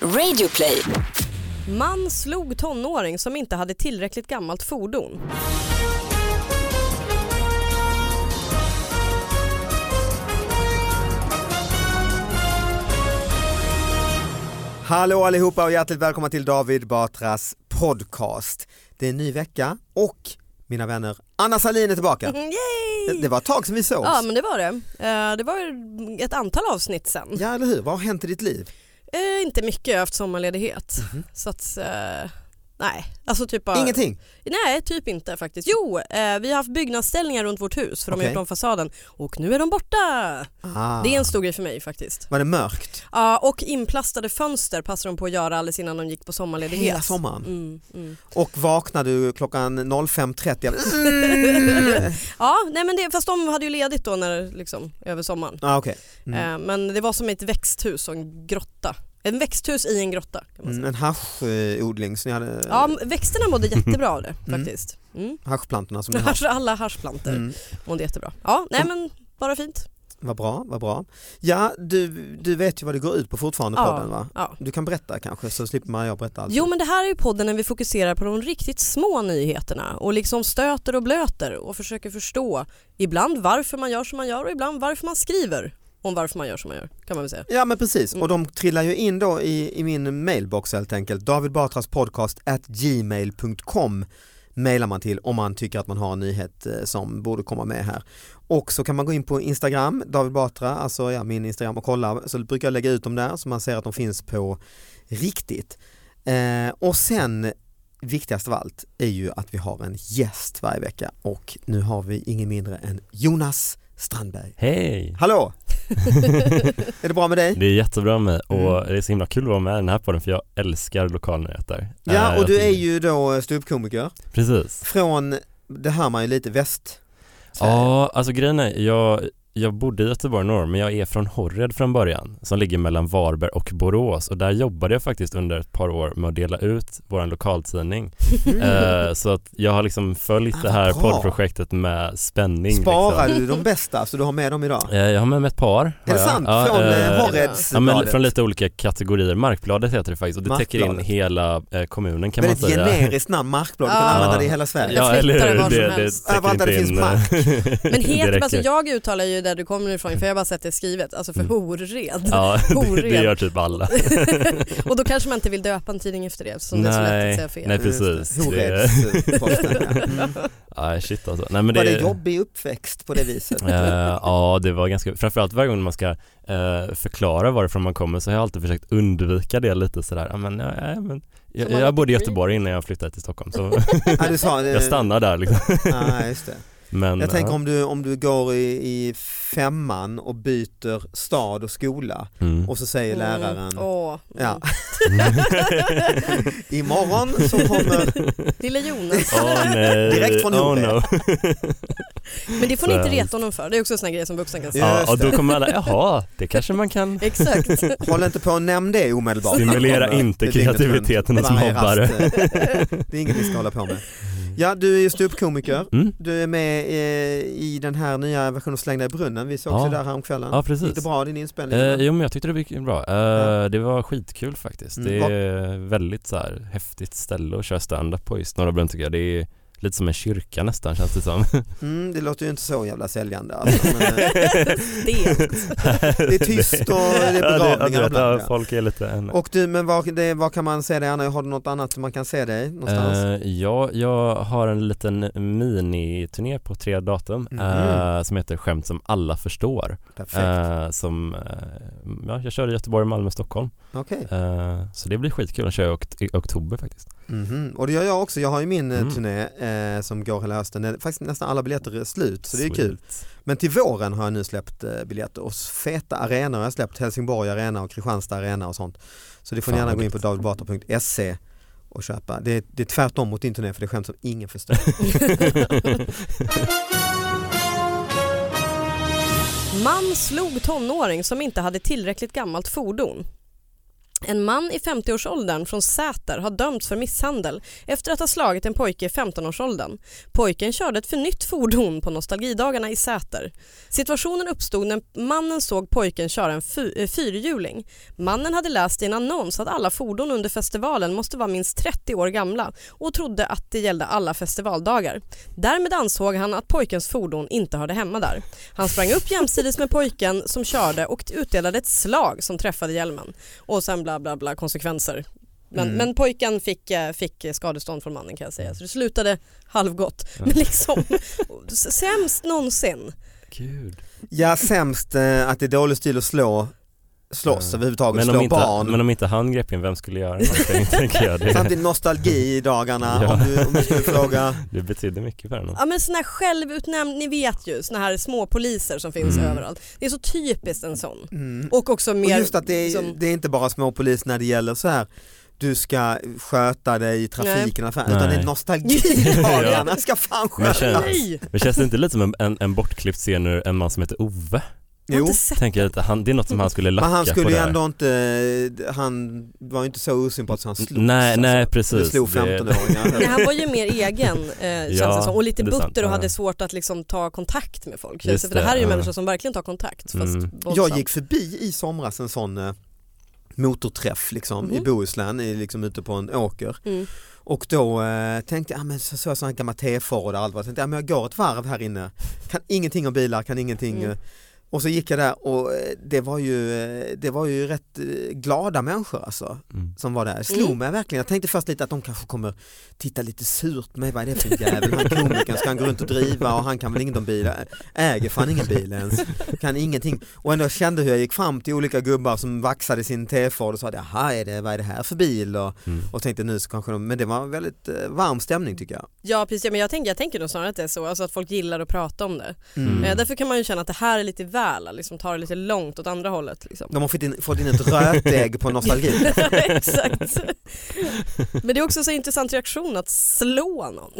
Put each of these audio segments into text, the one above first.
Radioplay. Man slog tonåring som inte hade tillräckligt gammalt fordon. Hallå allihopa och hjärtligt välkomna till David Batras podcast. Det är en ny vecka och mina vänner, Anna Salin är tillbaka. Mm, Det- Yay! Det var ett tag sedan vi sågs. Ja men det var det. Eh, Det var ju ett antal avsnitt sen. Ja eller hur, vad har hänt i ditt liv? Eh, Inte mycket, jag har haft sommarledighet. Mhm. Så att, eh, nej. Alltså typ bara, Ingenting? Nej, typ inte faktiskt. Jo, eh, vi har haft byggnadsställningar runt vårt hus för de har Okej. gjort om fasaden och nu är de borta. Ah. Det är en stor grej för mig faktiskt. Var det mörkt Ja, och inplastade fönster passade de på att göra alldeles innan de gick på sommarledighet. hela sommaren? Mm, mm. Och vaknade du klockan 05.30? Ja, nej men det, fast de hade ju ledigt då när, liksom, över sommaren. Ah, okay. mm. Eh, men det var som ett växthus och en grotta. En växthus i en grotta kan man säga. Mm, En haschodling, så ni hade Ja, m- växterna mådde jättebra av det faktiskt. Mm. haschplantorna som ni har. Hasch- Alla haschplantor Mm. mådde jättebra. Ja, nej men bara fint. Vad bra, vad bra. Ja, du, du vet ju vad det går ut på fortfarande Ja. podden va? Ja. Du kan berätta kanske så slipper man jag berätta allt. Jo men det här är ju podden när vi fokuserar på de riktigt små nyheterna och liksom stöter och blöter och försöker förstå ibland varför man gör som man gör och ibland varför man skriver om varför man gör som man gör kan man väl säga. Ja men precis och de trillar ju in då i, i min mailbox helt enkelt. David Batras podcast at gmail.com mailar man till om man tycker att man har en nyhet eh, som borde komma med här. Och så kan man gå in på Instagram, David Batra, alltså ja, min Instagram och kolla så brukar jag lägga ut dem där så man ser att de finns på riktigt. Eh, och sen viktigast av allt är ju att vi har en gäst varje vecka och nu har vi ingen mindre än Jonas Strandberg. Hej! Hallå! är det bra med dig? Det är jättebra med och Mm. det är så himla kul att vara med i den här podden för jag älskar lokalnyheter. Ja Eh, och jag du är tycker- ju då ståuppkomiker Precis. från, det hör man ju lite, väst Ja, alltså grejen är, jag, jag bodde i Göteborg norr men jag är från Horred från början som ligger mellan Varberg och Borås och där jobbade jag faktiskt under ett par år med att dela ut vår lokaltidning. Eh, så att jag har liksom följt Mm. Ah, det här bra. poddprojektet med spänning. Sparar liksom. du de bästa så du har med dem idag? Eh, Jag har med mig ett par. Är det sant? Ja, från eh, eh, Horreds Ja, men bladet. från lite olika kategorier. Markbladet heter det faktiskt och det täcker in Markbladet. hela eh, kommunen kan man Väldigt säga. generiskt namn, Markblad, du kan Ja. använda det i hela Sverige. Ja, Jag eller flyttar det hur? var som Det, det helst. Överallt där täcker det inte finns in... mark. Men Det heter, räcker. alltså jag uttalar ju där du kommer ifrån för jag har bara sett det skrivet, alltså för horred. Ja, det, det Horred. gör typ alla. Och då kanske man inte vill döpa en tidning efter det som det är så lätt att Nej, säga fel. nej precis. Det, Horeds-posten ja. mm. nej, shit alltså. Nej, men Var det det, jobbig uppväxt på det viset? Eh, ja, det var ganska, framförallt varje gång man ska eh, förklara varifrån man kommer så har jag alltid försökt undvika det lite sådär, ja men, ja, ja, men jag, Som man jag bodde i alltid- Göteborg innan jag flyttade till Stockholm så ja, du sa, eh, jag stannar där liksom. ja, just det. Men, Jag tänker ja. om du, om du går i, i femman och byter stad och skola Mm. och så säger läraren Mm. Åh. Ja. Imorgon så kommer, Lille Jonas. Åh, nej. Direkt från oh, Horred. no. Men det får ni inte Så- reta honom för, det är också en sån här grej som vuxna kan säga. Ja, Ja, just och då det. kommer alla, jaha, det kanske man kan Exakt. håll inte på och nämn det omedelbart. Stimulera Att de kommer inte till dygnet kreativiteten runt. hos Varje mobbare. rast, eh, Det är inget vi ska hålla på med. Ja, du är ju ståuppkomiker. mm. Du är med eh, i den här nya versionen av Släng dig i brunnen. Vi såg Ja. också där häromkvällen. Ja Gick det precis. bra din inspelning? Eh, jo men jag tyckte det gick bra. Eh, Ja. Det var skitkul faktiskt. Mm, Det vad- är väldigt så här häftigt ställe att köra stand-up på just Norra Brunn tycker jag. Det är lite som en kyrka nästan känns det som. Mm, det låter ju inte så jävla säljande. Alltså, men, eh, Det. det är tyst och det är Ja, ja, du begravningar vet, ibland. ja, Ja. Folk är lite en... Och du, men var, det, var kan man se dig Anna? Har du något annat som man kan se dig någonstans? Eh, ja, jag har en liten miniturné på tre datum Mhm. eh, som heter Skämt som alla förstår. Perfekt. Eh, som, eh, ja, jag kör i Göteborg, Malmö, Stockholm. Okej. Eh, så det blir skitkul, jag kör i okt- i oktober faktiskt. Mhm. Och det gör jag också. Jag har ju min eh, Mm. turné eh, som går hela hösten. Det är Faktiskt nästan alla biljetter är slut så det är Sweet. kul. Men till våren har jag nu släppt eh, biljetter och feta arenor. Jag har släppt Helsingborg arena och Kristianstad arena och sånt. Så det får ni Fan, gärna vad gå in på davidbatra.se och köpa. Det är, det är tvärtom mot din turné för det är skämt som ingen förstår. Man slog tonåring som inte hade tillräckligt gammalt fordon. En man i 50-årsåldern från Säter har dömts för misshandel efter att ha slagit en pojke i 15-årsåldern. Pojken körde ett förnytt fordon på nostalgidagarna i Säter. Situationen uppstod när mannen såg pojken köra en fy- eh, fyrhjuling. Mannen hade läst i en annons att alla fordon under festivalen måste vara minst 30 år gamla och trodde att det gällde alla festivaldagar. Därmed ansåg han att pojkens fordon inte hörde hemma där. Han sprang upp jämsides med pojken som körde och utdelade ett slag som träffade hjälmen och sen bla bla bla konsekvenser. Men, Mm. men pojken fick, eh, fick skadestånd från mannen kan jag säga så det slutade halvgott. Men liksom s- sämst någonsin. Gud. Ja, sämst eh, att det är dålig stil att slå, slåss Ja. överhuvudtaget, Men slå om, inte, barn. men om inte han grep in, vem skulle göra någonting? tänker jag. Det, Samtidigt nostalgi i dagarna Ja. om, du, om du skulle fråga. det betyder mycket för honom. Ja men sån här självutnämnd, ni vet ju såna här små poliser som finns Mm. överallt. Det är så typiskt en sån. Mm. Och också mer liksom- och liksom- just att det är, som- det är inte bara småpolis när det gäller så här du ska sköta dig i trafiken och affär, utan Nej. det är nostalgi i dagarna, ska fan Men sköta känns- Nej! Men känns det inte lite som en, en, en bortklippt scen ur en man som heter Ove? Jag har Jo, inte sett Tänker jag att han, det är något som han skulle lacka men han skulle på ju där. ändå inte, han var ju inte så osympatisk så han slogs. nej, nej Du precis. slog Det- 15-åringar. Nej, han var ju mer egen eh, känns Ja, det som och lite det är sant. butter och Ja. hade svårt att liksom ta kontakt med folk. Just Just för det här är ju det, ja. människor som verkligen tar kontakt fast Mm. Jag våldsamt. gick förbi i somras en sån eh, motorträff liksom, i Mhm. Bohuslän, i, liksom ute på en åker. Mm. Och då eh, tänkte jag, ah, men så såg jag sån här gammal T-Ford och allt vad. Jag tänkte, ah, men jag går ett varv här inne, kan ingenting om bilar, kan ingenting. Mm. eh. Och så gick jag där och eh, det var ju, eh, det var ju rätt eh, glada människor alltså Mm. som var där. Slog Mm. mig verkligen. Jag tänkte först lite att de kanske kommer titta lite surt på mig. Vad är det för en jävel? Han komikern ska han gå runt och driva och han kan väl inget om bilar. Äger fan ingen bil ens. Kan ingenting. Och ändå kände hur jag gick fram till olika gubbar som vaxade sin T-Ford och sa jaha, är det, vad är det här för bil? Och, Mm. och tänkte nu så kanske de, men det var en väldigt eh, varm stämning tycker jag. Ja precis, ja, men jag tänker, jag tänker nog snarare att det är så, alltså att folk gillar att prata om det. Mm. Eh, därför kan man ju känna att det här är lite väl, liksom tar det lite långt åt andra hållet. Liksom. De har fått in, fått in ett rötägg på nostalgi. Exakt. Men det är också så intressant reaktion att slå någon.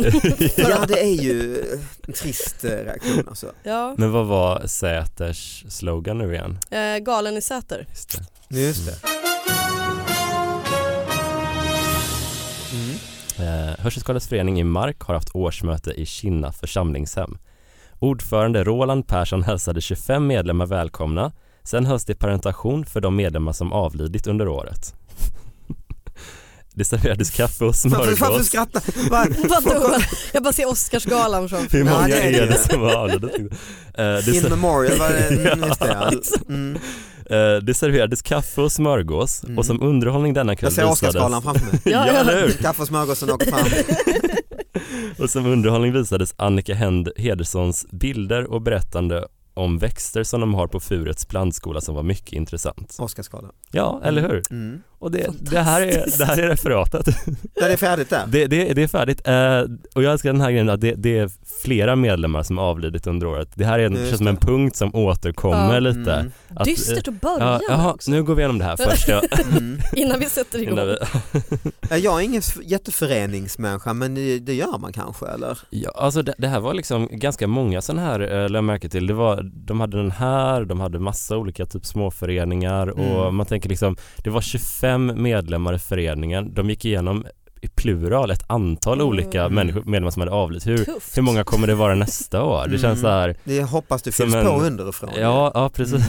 Ja det är ju en trist eh, reaktion alltså. Ja. Men vad var Säters slogan nu igen? Eh, galen i Säter. Just det. Just det. Mm. Eh, Hörselskadades förening i Mark har haft årsmöte i Kinna församlingshem. Ordförande Roland Persson hälsade 25 medlemmar välkomna. Sen hölls det parentation för de medlemmar som avlidit under året. Det serverades kaffe och Varför, varför smörgås. skrattar Va- Vadå? Jag bara ser Oscarsgalan från Hur många Ja, det är är det. det som har avlidit? Eh, det ser- In memorial, var det, mm, just det, ja. mm. Eh, Det serverades kaffe och smörgås Mm. och som underhållning denna Jag kväll ser visades, Oscarsgalan framför mig. Ja, Ja, eller hur? Kaffe och smörgåsen åker fram. och som underhållning visades Annika Hend Hedersons bilder och berättande om växter som de har på Furets plantskola som var mycket intressant. Oscarsgalan. Ja, eller hur? Mm. Och det, det, här, är, det här är referatet. Ja, det är färdigt där. Det, det, det är färdigt. Eh, och jag älskar den här grejen att det, det är flera medlemmar som avlidit under året. Det här är en, Just precis som en det. punkt som återkommer Ja. lite. Mm. Att, eh, Dystert att börja Ja, med jaha, också. nu går vi igenom det här först. Ja, Mm. Innan vi sätter igång. innan vi, Ja, Jag är ingen f- jätteföreningsmänniska men det det gör man kanske eller? Ja, alltså det, det här var liksom ganska många sådana här, eh, lade jag märke till. Det var, de hade den här, de hade massa olika typ småföreningar och Mm. man tänker liksom, det var 25 medlemmar i föreningen. De gick igenom i plural ett antal Mm. olika människor, medlemmar som hade avlidit. Hur, Tufft. hur många kommer det vara nästa år? Det Mm. känns så här, Det hoppas du Som finns en- på underifrån. Mm. ja, ja precis.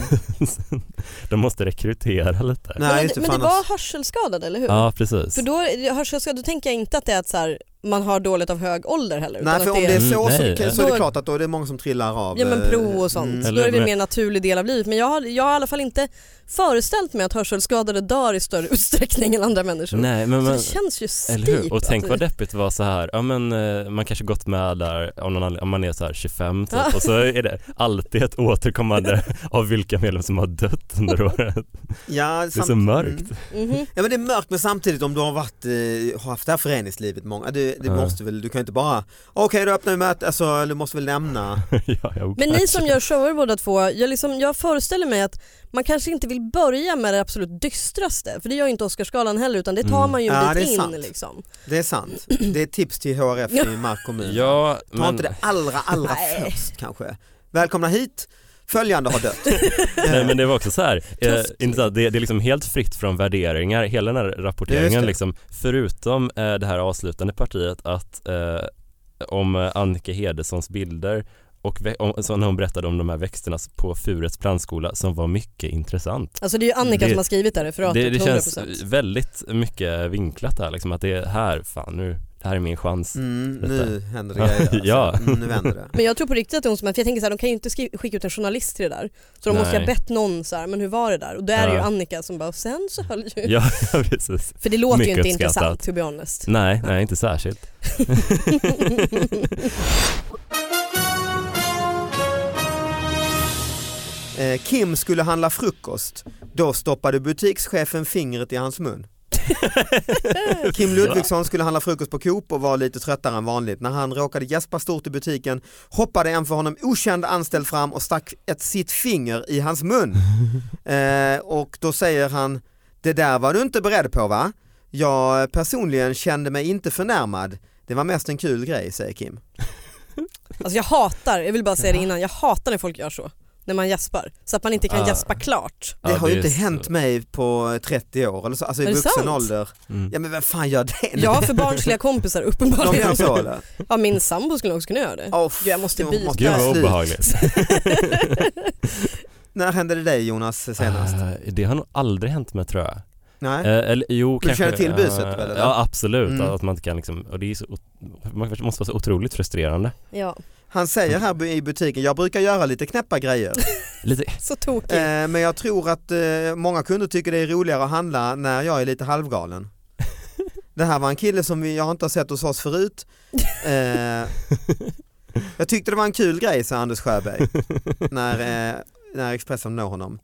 de måste rekrytera lite. Nej, men just det, det, men det fan, var alltså. hörselskadad eller hur? Ja, precis. För då, hörselskadad, då tänker jag inte att det är att så här, man har dåligt av hög ålder heller. Nej utan för att om det är Mm, så nej. så, så är Då- det klart att då är det många som trillar av. Ja men eh, prov och sånt, mm. då är det väl Eller- en mer naturlig del av livet. Men jag har, jag har i alla fall inte föreställt mig att hörselskadade dör i större utsträckning än andra människor. Nej, men, så men, det känns ju steep. Eller hur? Och Typ, att tänk vi- vad deppigt det var så här, ja men eh, man kanske gått med där om, någon, anledning- om man är så här 25 typ, Ja. och så är det alltid ett återkommande av vilka medlemmar som har dött under året. Ja, Det är så samt- mm. mörkt. Mhm. Ja men det är mörkt men samtidigt om du har varit, eh, har haft det här föreningslivet många, du, det Ja. måste väl, du kan ju inte bara, okej då öppnar vi mötet, alltså du måste väl lämna. ja, ja, Men ni som gör shower båda två, jag, liksom, jag föreställer mig att man kanske inte vill börja med det absolut dystraste för det gör ju inte Oscarsgalan heller utan det tar Mm. man ju en Ja, det är bit in. sant. Liksom. Det är sant, det är ett tips till HRF i Mark kommun. Ja, Ta men inte det allra, allra Nej. först kanske. Välkomna hit, följande har dött. Nej men det var också så här, eh, Tufft. intressant, det, det är liksom helt fritt från värderingar, hela den här Just rapporteringen det. liksom, förutom eh, det här avslutande partiet att eh, om eh, Annika Hedessons bilder och vä- om, så när hon berättade om de här växterna på Furets plantskola som var mycket intressant. Alltså det är ju Annika Det- som har skrivit det här referatet, Det, det 100%. känns eh, väldigt mycket vinklat här liksom, att det är här, fan nu, det här är min chans. Mm, nu Detta. händer det grejer. Alltså. Ja. Mm, nu vänder det. Men jag tror på riktigt att det är hon som har, för jag tänker så här, de kan ju inte skri- skicka ut en journalist till det där. Så de måste ju ha Nej. bett någon så här, men hur var det där? Och där är ju Ja. Annika som bara, sen så höll ju... Ja, ja precis. För det låter ju Mycket inte uppskattat. intressant to be honest. Nej, nej inte särskilt. Eh, Kim skulle handla frukost. Då stoppade butikschefen fingret i hans mun. Kim Ludvigsson skulle handla frukost på Coop och var lite tröttare än vanligt. När han råkade gäspa stort i butiken hoppade en för honom okänd anställd fram och stack ett sitt finger i hans mun. Eh, och då säger han, det där var du inte beredd på va? Jag personligen kände mig inte förnärmad. Det var mest en kul grej, säger Kim. Alltså jag hatar, jag vill bara säga det innan, jag hatar när folk gör så. När man gäspar. Så att man inte kan Ah. gäspa klart. Det Ja, har ju inte är så- hänt mig på 30 år, eller så, alltså i Är det vuxen sant? ålder. Mm. Ja men vem fan gör det? nu? Jag har för barnsliga kompisar uppenbarligen. Alltså, De gör så eller? Ja min sambo skulle nog också kunna göra det. Oh, Gud, jag måste byta. Gud vad slut. obehagligt. När hände det dig Jonas senast? Eh, det har nog aldrig hänt mig tror jag. Nej? Eh, eller, jo, Du kanske, känner till buset eh, väl, eller? Ja absolut, Mm. att man inte kan liksom, och det är så, ot- man måste vara så otroligt frustrerande. Ja, Han säger här i butiken, jag brukar göra lite knäppa grejer. Lite, så tokig. eh, men jag tror att eh, många kunder tycker det är roligare att handla när jag är lite halvgalen. Det här var en kille som vi, jag inte har sett hos oss förut. Eh, jag tyckte det var en kul grej, sa Anders Sjöberg, när, eh, när Expressen når honom.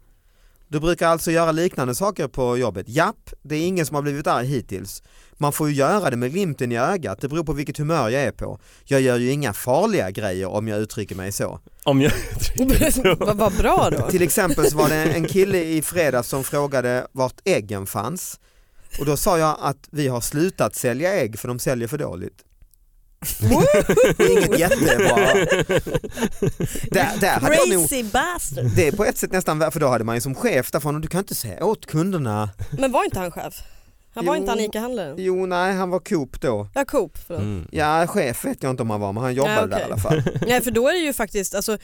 Du brukar alltså göra liknande saker på jobbet? Japp, det är ingen som har blivit arg hittills. Man får ju göra det med glimten i ögat, det beror på vilket humör jag är på. Jag gör ju inga farliga grejer om jag uttrycker mig så. om jag Vad vad bra då. Till exempel så var det en kille i fredags som frågade vart äggen fanns. Och då sa jag att vi har slutat sälja ägg för de säljer för dåligt. Det är inget jättebra. Där, där hade jag nog, Crazy bastard. det är på ett sätt nästan värt, för då hade man ju som chef där från, du kan inte säga åt kunderna. Men var inte han chef? Han var Jo. inte Annika-handlaren? Jo nej, han var Coop då. Ja, Coop. Förlåt. mm. Ja, chef vet jag inte om han var, men han jobbade Ja, där i okej. alla fall. Nej för då är det ju faktiskt, alltså,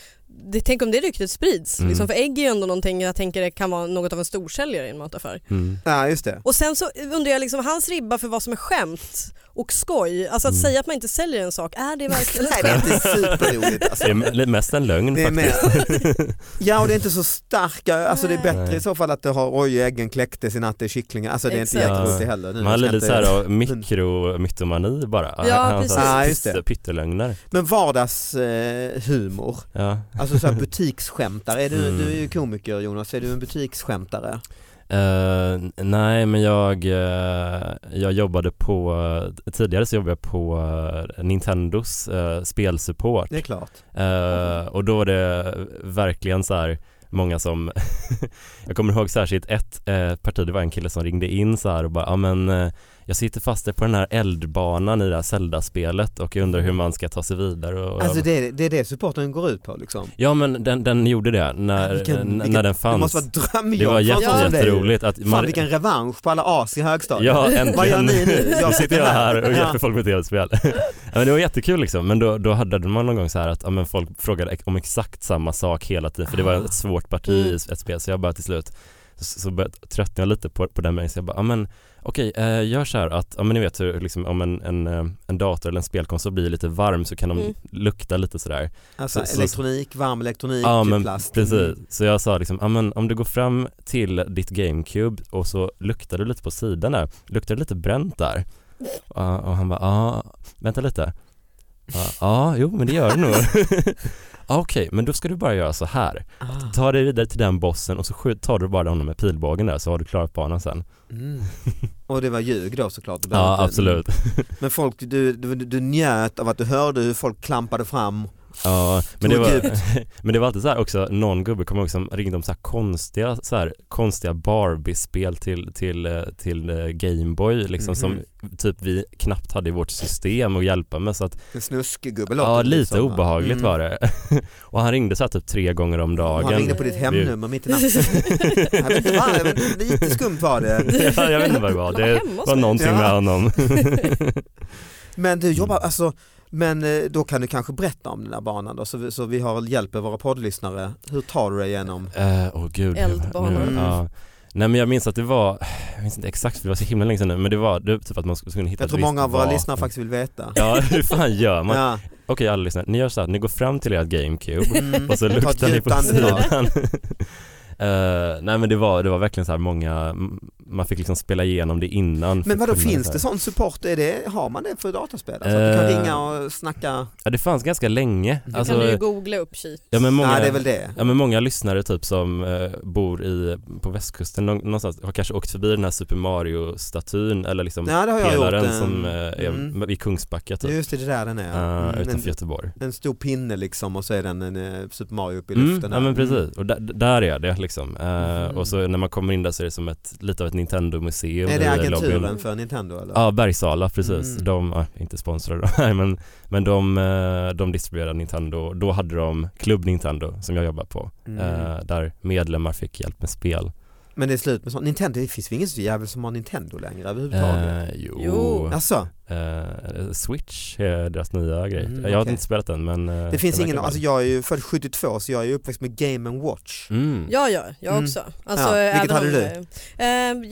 det, tänk om det ryktet sprids. Mm. Liksom, för ägg är ju ändå någonting jag tänker det kan vara något av en storsäljare i en mataffär. Mm. Ja, just det. Och sen så undrar jag liksom hans ribba för vad som är skämt och skoj. Alltså att Mm. säga att man inte säljer en sak, är det verkligen ett Nej, det är skämt? inte superroligt alltså. Det är m- mest en lögn Det är faktiskt. mer- ja och det är inte så starka, alltså det är bättre Nej. i så fall att det har, oj äggen kläcktes i natt, det är kycklingar, alltså det är inte Exakt. jätteroligt det heller. Nu Man hade ska inte- lite såhär av mikromytomani bara. Ja, Han precis. sa Ja, just pytte- det. Pyttelögner. Men vardagshumor, eh, humor. Ja. alltså så här butiksskämtare, är du, Mm. du är ju komiker Jonas, är du en butiksskämtare? Eh, nej men jag, eh, jag jobbade på, tidigare så jobbade jag på eh, Nintendos eh, spelsupport. Det är klart. Eh, och då var det verkligen så här många som, jag kommer ihåg särskilt ett eh, parti, det var en kille som ringde in så här och bara, ja men eh, jag sitter fast på den här eldbanan i det här Zelda-spelet och jag undrar hur man ska ta sig vidare. Och, Alltså det, är- det är det supporten går ut på liksom. Ja men den, den gjorde det när, eh, Vilken- n- vilken- när den Det fanns. måste vara drömjobb det var för jätte, en sån som dig. jätteroligt att Fan vilken revansch på alla as i högstadiet. Ja, äntligen. Vad gör ni nu? Nu sitter jag här och Ja. hjälper folk med tv-spel. Ja, men det var jättekul liksom, men då, då hade man någon gång så här att ja, men folk frågade om exakt samma sak hela tiden för det var Ah. ett svårt parti Mm. i ett spel så jag bara till slut så, så började, tröttnade jag lite på, på den meningen så jag bara, ja men okej, eh, gör så här att, ja men ni vet hur liksom, om en, en, eh, en dator eller en spelkonsol blir lite varm så kan de Mm. lukta lite sådär. Alltså Så- så- elektronik, varm elektronik, Ja, typ men plast. Precis, så jag sa liksom, "Ja, men om du går fram till ditt GameCube och så luktar du lite på sidan där, luktar det lite bränt där? Ja, och han bara, ja, vänta lite. Ja, Ja, jo men det gör det nog. Ja, Okej, men då ska du bara göra så här. Ah. Ta dig vidare till den bossen och så skjut- tar du bara honom med pilbågen där så har du klarat banan sen. Mm. Och det var ljug då såklart? Det blev Ja, inte- absolut. Men folk, du, du, du njöt av att du hörde hur folk klampade fram Ja, men det, Tog var, djupt. men det var alltid så här också, någon gubbe kommer ihåg som ringde om så här konstiga, så här, konstiga Barbie-spel till, till, eh, till eh, Gameboy liksom Mhm. som typ vi knappt hade i vårt system att hjälpa med så att, En snuskgubbe låter ja det lite som, va? obehagligt Mm. var det. och han ringde så här typ tre gånger om Han dagen. ringde på ditt hemnummer mitt i natten. Jag vet inte fan, jag vet inte, lite skumt var det. ja, jag vet inte vad det var, Han var det hemma hos var mig. någonting med Ja. honom. Men du jobbar, alltså, men eh, då kan du kanske berätta om den här banan då, så vi, så vi har hjälp av våra poddlyssnare. Hur tar du dig igenom? Eh, Åh gud. nu- Eldbanan. Nu, ja. Nej men jag minns att det var, jag minns inte exakt för det var så himla länge sedan nu, men det var det, var typ att man skulle hitta Jag ett tror visst många av våra vapen. lyssnare faktiskt vill veta. Ja hur fan gör man? Ja. Okej alla lyssnare, ni gör så här, ni går fram till ert GameCube Mm. och så Ta ett luktar ni djupt på andetag. sidan. Eh, nej men det var, det var verkligen så här många, m- man fick liksom spela igenom det innan. för Men att vadå, kunna finns här- det sån support? Är det, har man det för dataspel? Alltså, att du kan Eh, ringa och snacka? Ja det fanns ganska länge. Det kan du Alltså, ju googla upp cheat. ja, men många, Nej, det är väl det. Ja men många lyssnare typ som eh, bor i, på västkusten nå- någonstans har kanske åkt förbi den här Super Mario-statyn eller liksom Nej, det har jag gjort. pelaren eh, som eh, är mm. vid Kungsbacka typ. Just det, det där den är. Eh, Mm, utanför en, Göteborg. en stor pinne liksom och så är den en eh, Super Mario uppe i Mm, luften. där. ja men Mm. precis, och där, där är det liksom. Eh, Mhm. Och så när man kommer in där så är det som ett, lite av ett Nintendo-museum. Är det i lobbyn. agenturen för Nintendo eller? Ja, Bergsala precis. Mm. De, ja, inte sponsrade de här men, men de, eh, de distribuerade Nintendo. Då hade de Club Nintendo som jag jobbar på. Mm. eh, Där medlemmar fick hjälp med spel. Men det är slut med sånt. Nintendo, det finns väl ingen så jävel som har Nintendo längre överhuvudtaget? Eh, jo. Jo. Alltså, Eh, Switch är deras nya grej. Mm, jag har okej. inte spelat den men eh, det finns den ingen, verkar alltså bra. jag är ju född 72 så jag är ju uppväxt med Game Watch. mm. Ja, ja, jag Mm. också. Alltså, Ja, vilket även hade om, Eh,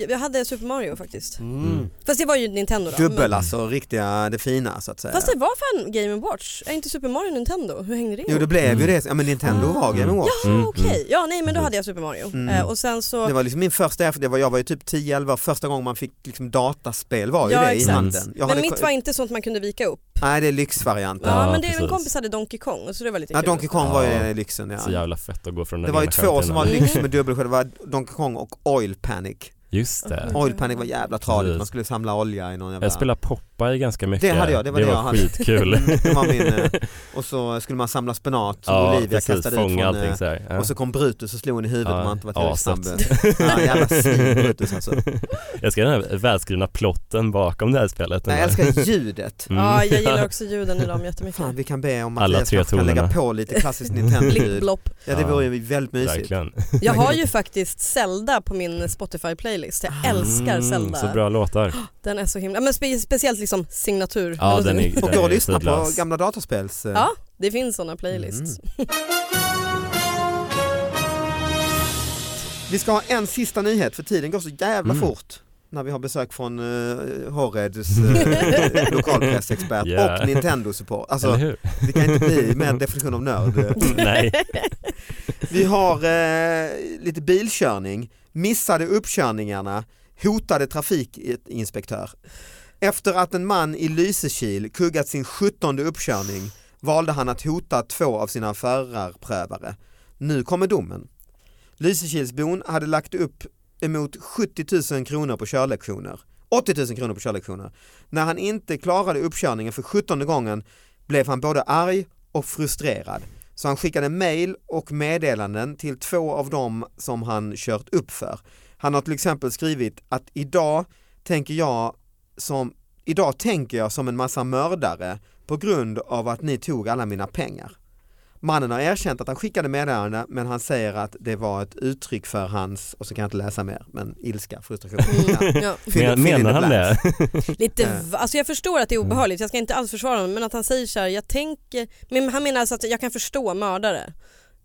jag hade Super Mario faktiskt. Mm. Fast det var ju Nintendo då. Dubbel men- alltså, riktiga, det fina så att säga. Fast det var fan Game Watch. Är inte Super Mario Nintendo? Hur hängde det Jo det ihop? blev ju Mm. det, ja men Nintendo Ah. var Game Mm. Watch. Jaha Mm, okej, mm. ja nej men då hade jag Super Mario. Mm. Eh, och sen så Det var liksom min första erfarenhet, det var, jag var ju typ 10-11 första gången man fick liksom dataspel var ju Ja, det i exakt. handen. Jag men hade mitt ko- var inte sånt man kunde vika upp. Nej det är lyxvarianten. Ja, Ja, men det, en precis. kompis hade Donkey Kong så det var lite Ja, kul. Donkey Kong var ju Ja. den lyxen ja. Så jävla Mm. fett att gå från den Det var ju ena två som skärmen var till den andra. lyx med dubbelsköld, det var Donkey Kong och Oil Panic. Just det. Oj. Oil Panic var jävla tradigt, Precis. man skulle samla olja i någon jävla... Jag spelade Popeye ganska mycket. Det hade jag, det var det jag hade. skitkul. Mm, det var min, eh, och så skulle man samla spenat som ja, Olivia precis, kastade ut fånga från, allting eh, så här. Ja. och så kom Brutus och slog en i huvudet Ja, om man inte var tillräckligt snabb. aset. Ja, jävla svin Brutus alltså. Jag ska den här välskrivna plotten bakom det här spelet. Nej, Jag älskar ljudet. Mm. Ja, jag gillar också ljuden i dem jättemycket. Fan vi kan be om Alla Mattias tre kanske kan lägga tonerna. på lite klassiskt Nintendo-ljud. Blipplopp. Ja det Ja. vore ju väldigt mysigt. Verkligen. Jag har ju faktiskt Zelda på min Spotify-playlist. Jag älskar Mm, Zelda. Så bra låtar. Den är så himla, men spe, speciellt liksom signatur. Ja, den är, Och den gå är och lyssna på tidlös. gamla dataspels... eh, Ja, det finns sådana playlists. Mm. Vi ska ha en sista nyhet för tiden går så jävla Mm. fort när vi har besök från uh, Horeds eh, lokalpressexpert Yeah. och Nintendo-support. Alltså, Eller hur? det kan inte bli mer en definition av nörd. eh, Nej. Vi har eh, lite bilkörning, missade uppkörningarna, hotade trafikinspektör. Efter att en man i Lysekil kuggat sin 17 uppkörning valde han att hota två av sina förarprövare. Nu kommer domen. Lysekilsbon hade lagt upp emot 70 000 kronor på körlektioner. 80 000 kronor på körlektioner. När han inte klarade uppkörningen för 17 gången blev han både arg och frustrerad. Så han skickade mejl och meddelanden till två av dem som han kört upp för. Han har till exempel skrivit att idag tänker jag som, idag tänker jag som en massa mördare på grund av att ni tog alla mina pengar. Mannen har erkänt att han skickade meddelande men han säger att det var ett uttryck för hans, och så kan jag inte läsa mer, men ilska, frustration. Ja. Mm, ja. Fill in- fill in the Menar han blanks. det? Lite, Eh. va- alltså jag förstår att det är Mm. obehagligt, jag ska inte alls försvara honom men att han säger så här, jag tänker, men han menar alltså att jag kan förstå mördare.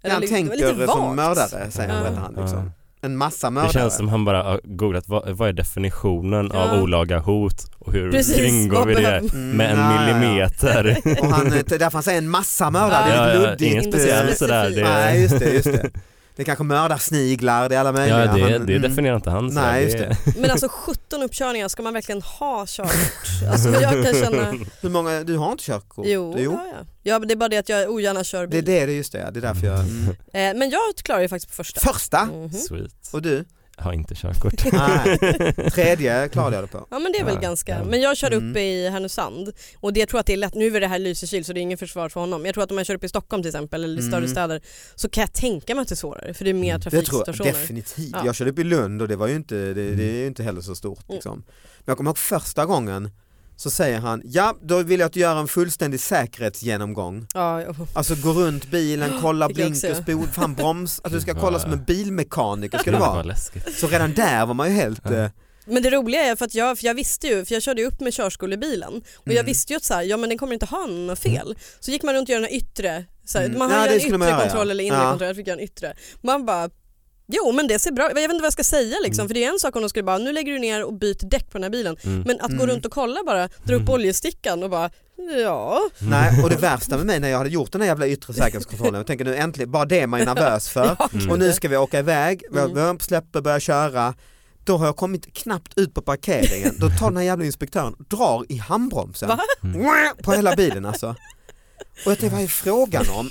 Ja, han li- det var tänker som vagt. mördare säger han, Ja. berättar han liksom. Ja. En massa mördare. Det känns som han bara har googlat vad, vad är definitionen Ja. av olaga hot och hur Precis, kringgår vad vi det behöver- Mm, med en ja, ja, ja. millimeter? Och han, eh, det är därför han säger en massa mördare, Ja, det är lite ja, luddigt. inget Inte speciellt specifikt. sådär. Det Nej, just det, just det. Det kanske mördar sniglar, det är alla möjliga. Ja, det, Han- det mm. definierar inte han. så Nej, här. just det. Men alltså 17 uppkörningar, ska man verkligen ha körkort? Alltså jag kan känna, Hur många, du har inte körkort? jo, Ja, ja. ja men det är bara det att jag ogärna kör Det är bil. det, det är just det, ja. det är därför jag... Mm. Eh, men jag klarar ju faktiskt på första. Första! Mhm. Sweet. Och du? Jag har inte körkort. Nej. Tredje klarade jag det på. Ja men det är väl Ja, ganska, ja. men jag kör Mm. upp i Härnösand och det, jag tror att det är lätt, nu är det här Lysekil så det är ingen försvar för honom. Jag tror att om jag kör upp i Stockholm till exempel eller i större Mm. städer så kan jag tänka mig att det är svårare för det är mer Mm. Det Det tror jag trafikstationer. definitivt. Ja. Jag körde upp i Lund och det var ju inte, det, det är ju Mm. inte heller så stort. Mm. Liksom. Men jag kommer ihåg första gången så säger han, ja då vill jag att du gör en fullständig säkerhetsgenomgång. ja, jag, Alltså gå runt bilen, kolla Fick jag också blinkers, bo, fan broms, att du ska Ja, kolla ja. som en bilmekaniker ska det det var vara. läskigt. Så redan där var man ju helt, Ja. eh, Men det roliga är för att jag, för jag visste ju, för jag körde ju upp med körskolebilen och jag Mm. visste ju att så här, ja men den kommer inte ha något fel. Så gick man runt och gjorde den här yttre, så här, Mm. man Ja, har det ju en skulle yttre man göra, kontroll ja. eller inre Ja. kontroll, jag fick göra en yttre. Man bara, jo men det ser bra jag vet inte vad jag ska säga liksom Mm. för det är en sak om de skulle bara, nu lägger du ner och byter däck på den här bilen. Mm. Men att gå Mm. runt och kolla bara, dra upp Mm. oljestickan och bara, ja. nej och det värsta med mig när jag hade gjort den här jävla yttre säkerhetskontrollen, jag tänker nu äntligen, bara det är man ju nervös för. ja Mm. Och nu ska vi åka iväg, Mm. mm. släpper, börjar köra. Då har jag kommit knappt ut på parkeringen, då tar den här jävla inspektören och drar i handbromsen. Va? Mm. Mwah! På hela bilen alltså. Och jag tänkte, vad är frågan om?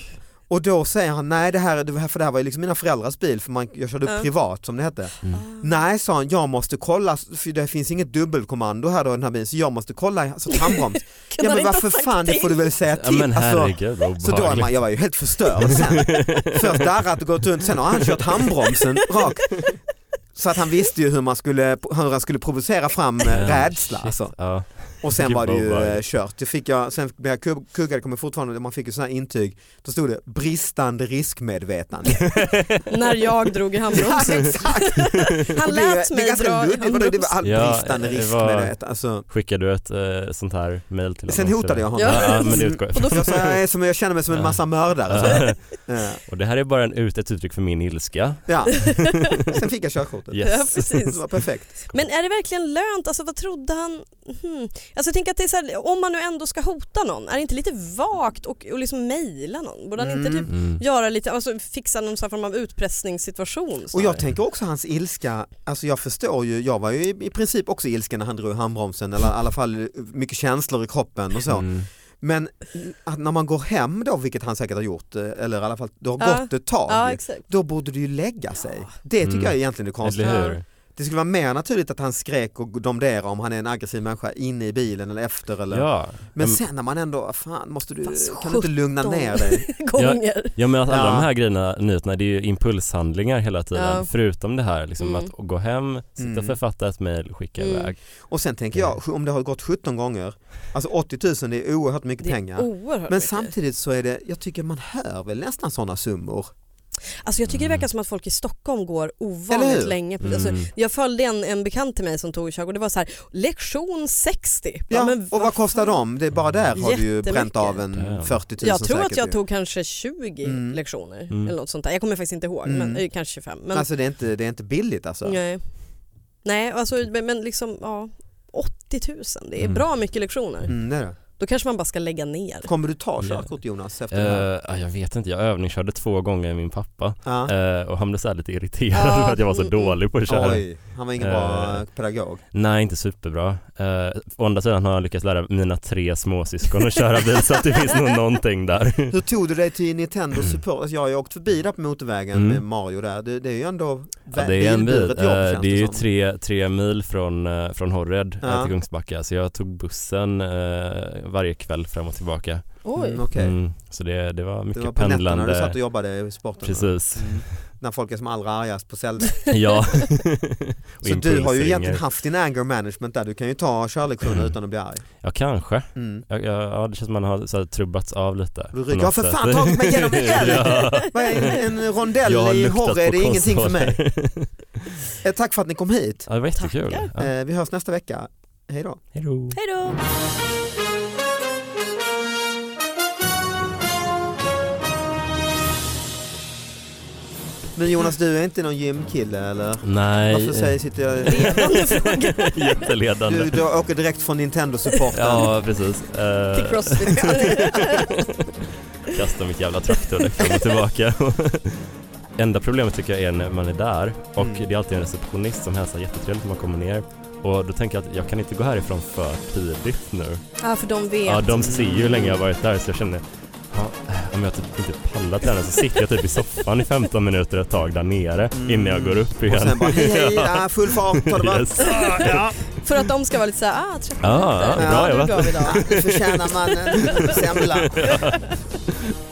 Och då säger han, nej det här, det här, för det här var ju liksom mina föräldrars bil för man, jag körde upp Ja. privat som det hette. Mm. Ah, Nej sa han, jag måste kolla, för det finns inget dubbelkommando här då i den här bilen så jag måste kolla, så handbroms. Kunde ja han men inte ha varför sagt fan, det får du väl säga Ja, till. men alltså, herregud vad så då är man, obehagligt. jag var ju helt förstörd sen. Först darrat och gått runt, sen har han kört handbromsen rakt. Så att han visste ju hur, man skulle, hur han skulle provocera fram eh, Ja, rädsla. shit. Alltså. Ja. Och sen Gud, var det vad ju eh, obehagligt. kört. Det fick jag, sen blev jag kug- kuggad, kommer fortfarande, man fick ju sådana här intyg. Då stod det bristande riskmedvetande. När jag drog i ja, handbromsen. exakt. Han Och det är ju- lät det är mig ganska dra i luddigt, vadå? det var handbromsen. all Ja, bristande det var- riskmedvetande. Alltså, Skickade du ett eh, sånt här mail till honom? sen hotade jag honom. Ja. Ja, ja men det utgår jag Och ifrån. då Jag, sa, jag, är som, jag känner mig som en Ja. massa mördare. Så. Eh, Och det här är bara en, ut- ett uttryck för min ilska. Ja. Sen fick jag körkortet. Ja, Yes. precis. Det var perfekt. Men är det verkligen lönt? Alltså vad trodde han? Hmm. Alltså jag tänker att det är så här, om man nu ändå ska hota någon, är det inte lite vagt och, och liksom mejla någon? Borde han inte Mm. typ Mm. göra lite, alltså fixa någon sån här form av utpressningssituation? Och snarare? jag tänker också hans ilska, alltså jag förstår ju, jag var ju i i princip också ilsken när han drog i handbromsen, eller i alla fall mycket känslor i kroppen och så. Mm. Men att när man går hem då, vilket han säkert har gjort, eh, eller i alla fall det har Ja. gått ett tag, Ja exakt. då borde du ju lägga sig. Ja. Det tycker Mm. jag egentligen är konstigt. Eller hur? Det skulle vara mer naturligt att han skrek och domderade om han är en aggressiv människa inne i bilen eller efter. Eller. Ja. Men Mm. sen när man ändå, fan måste du, Fast kan du inte lugna sjutton. ner dig? Gånger. Ja men alltså alla Ja. de här grejerna, nyheterna, det är ju impulshandlingar hela tiden. Ja. Förutom det här liksom Mm. att gå hem, sitta Mm. och författa ett mejl, skicka Mm. iväg. Och sen tänker jag, om det har gått 17 gånger, alltså 80 000 det är oerhört mycket Det pengar. är oerhört Men mycket. samtidigt så är det, jag tycker man hör väl nästan sådana summor. Alltså jag tycker det verkar som att folk i Stockholm går ovanligt Mm. Eller hur? länge. På, Mm. alltså, jag följde en, en bekant till mig som tog körkort och det var så här, lektion 60. Ja, men och vad fan? kostar de? Det är bara där har du ju Jättemycket. bränt av en Damn. 40 000 Jag tror säkert att jag ju. tog kanske 20 Mm. lektioner Mm. eller något sånt där. Jag kommer faktiskt inte ihåg, men Mm. eh, kanske 25. Men, Alltså det är, inte, det är inte billigt alltså. nej. nej, alltså men men liksom ja, 80 000, det är Mm. bra mycket lektioner. Mm, det är det. Då kanske man bara ska lägga ner. Kommer du ta Ja. körkort Jonas? Efter Eh, det här? ja, jag vet inte, jag övningskörde två gånger med min pappa Ja. eh, och han blev så här lite irriterad Ja, för att jag var så mm, dålig på att köra. Oj, han var ingen bra Eh. pedagog. Nej, inte superbra. Eh, å andra sidan har jag lyckats lära mina tre småsyskon att köra bil så att det finns nog någonting där. Hur tog du dig till Nintendo Support? Alltså, jag har ju åkt förbi där på motorvägen Mm. med Mario där. Det, det är ju ändå Ja, vä- det är en bit. bilburet Eh, jobb känns det är ju som. tre, tre mil från, eh, från Horred eh, Ja. till Kungsbacka så jag tog bussen eh, varje kväll fram och tillbaka. Oj. Mm, okej. Mm, så det, det var Det mycket var på nätterna du pendlande. satt och jobbade i sporten. Precis, Mm. När folk är som allra argast på cell. ja. Och Så du har ju impulsringar. egentligen haft din anger management där. Du kan ju ta körlektioner utan att bli arg. Ja kanske. Mm. Ja, ja, ja, det känns som man har så här, trubbats av lite. Du på rycker, något jag har för sätt. fan tagit mig igenom en älv! Ja. Vad är En en rondell Jag har i luktat Horre är på det ingenting för mig. konsoler. Eh, Tack för att ni kom hit. ja, det var jättekul. Tackar. Ja. Eh, Vi hörs nästa vecka. Hej då. Hej då. Hej då! Men Jonas, du är inte någon gymkille eller? Nej. eh. Varför säger, sitter jag... Ledande fråga Jätteledande. Du, du åker direkt från Nintendo-supporten. Ja precis. Eh, till Crossfit. kasta mitt jävla traktordäck fram och tillbaka. Enda problemet tycker jag är när man är där och Mm. det är alltid en receptionist som hälsar jättetrevligt när man kommer ner. Och då tänker jag att jag kan inte gå härifrån för tidigt nu. ja, för de vet. Ja, de ser ju hur länge jag har varit där så jag känner, ja, eh, om jag typ inte pallar träna så sitter jag typ i soffan i 15 minuter ett tag där nere Mm. innan jag går upp igen. Och sen bara hej, hej, ja, full fart har det varit. Yes. Ah, ja. För att de ska vara lite så här, ah 30 Ja, minuter, ja, bra nu jobbat. går vi då. Nu förtjänar mannen semla.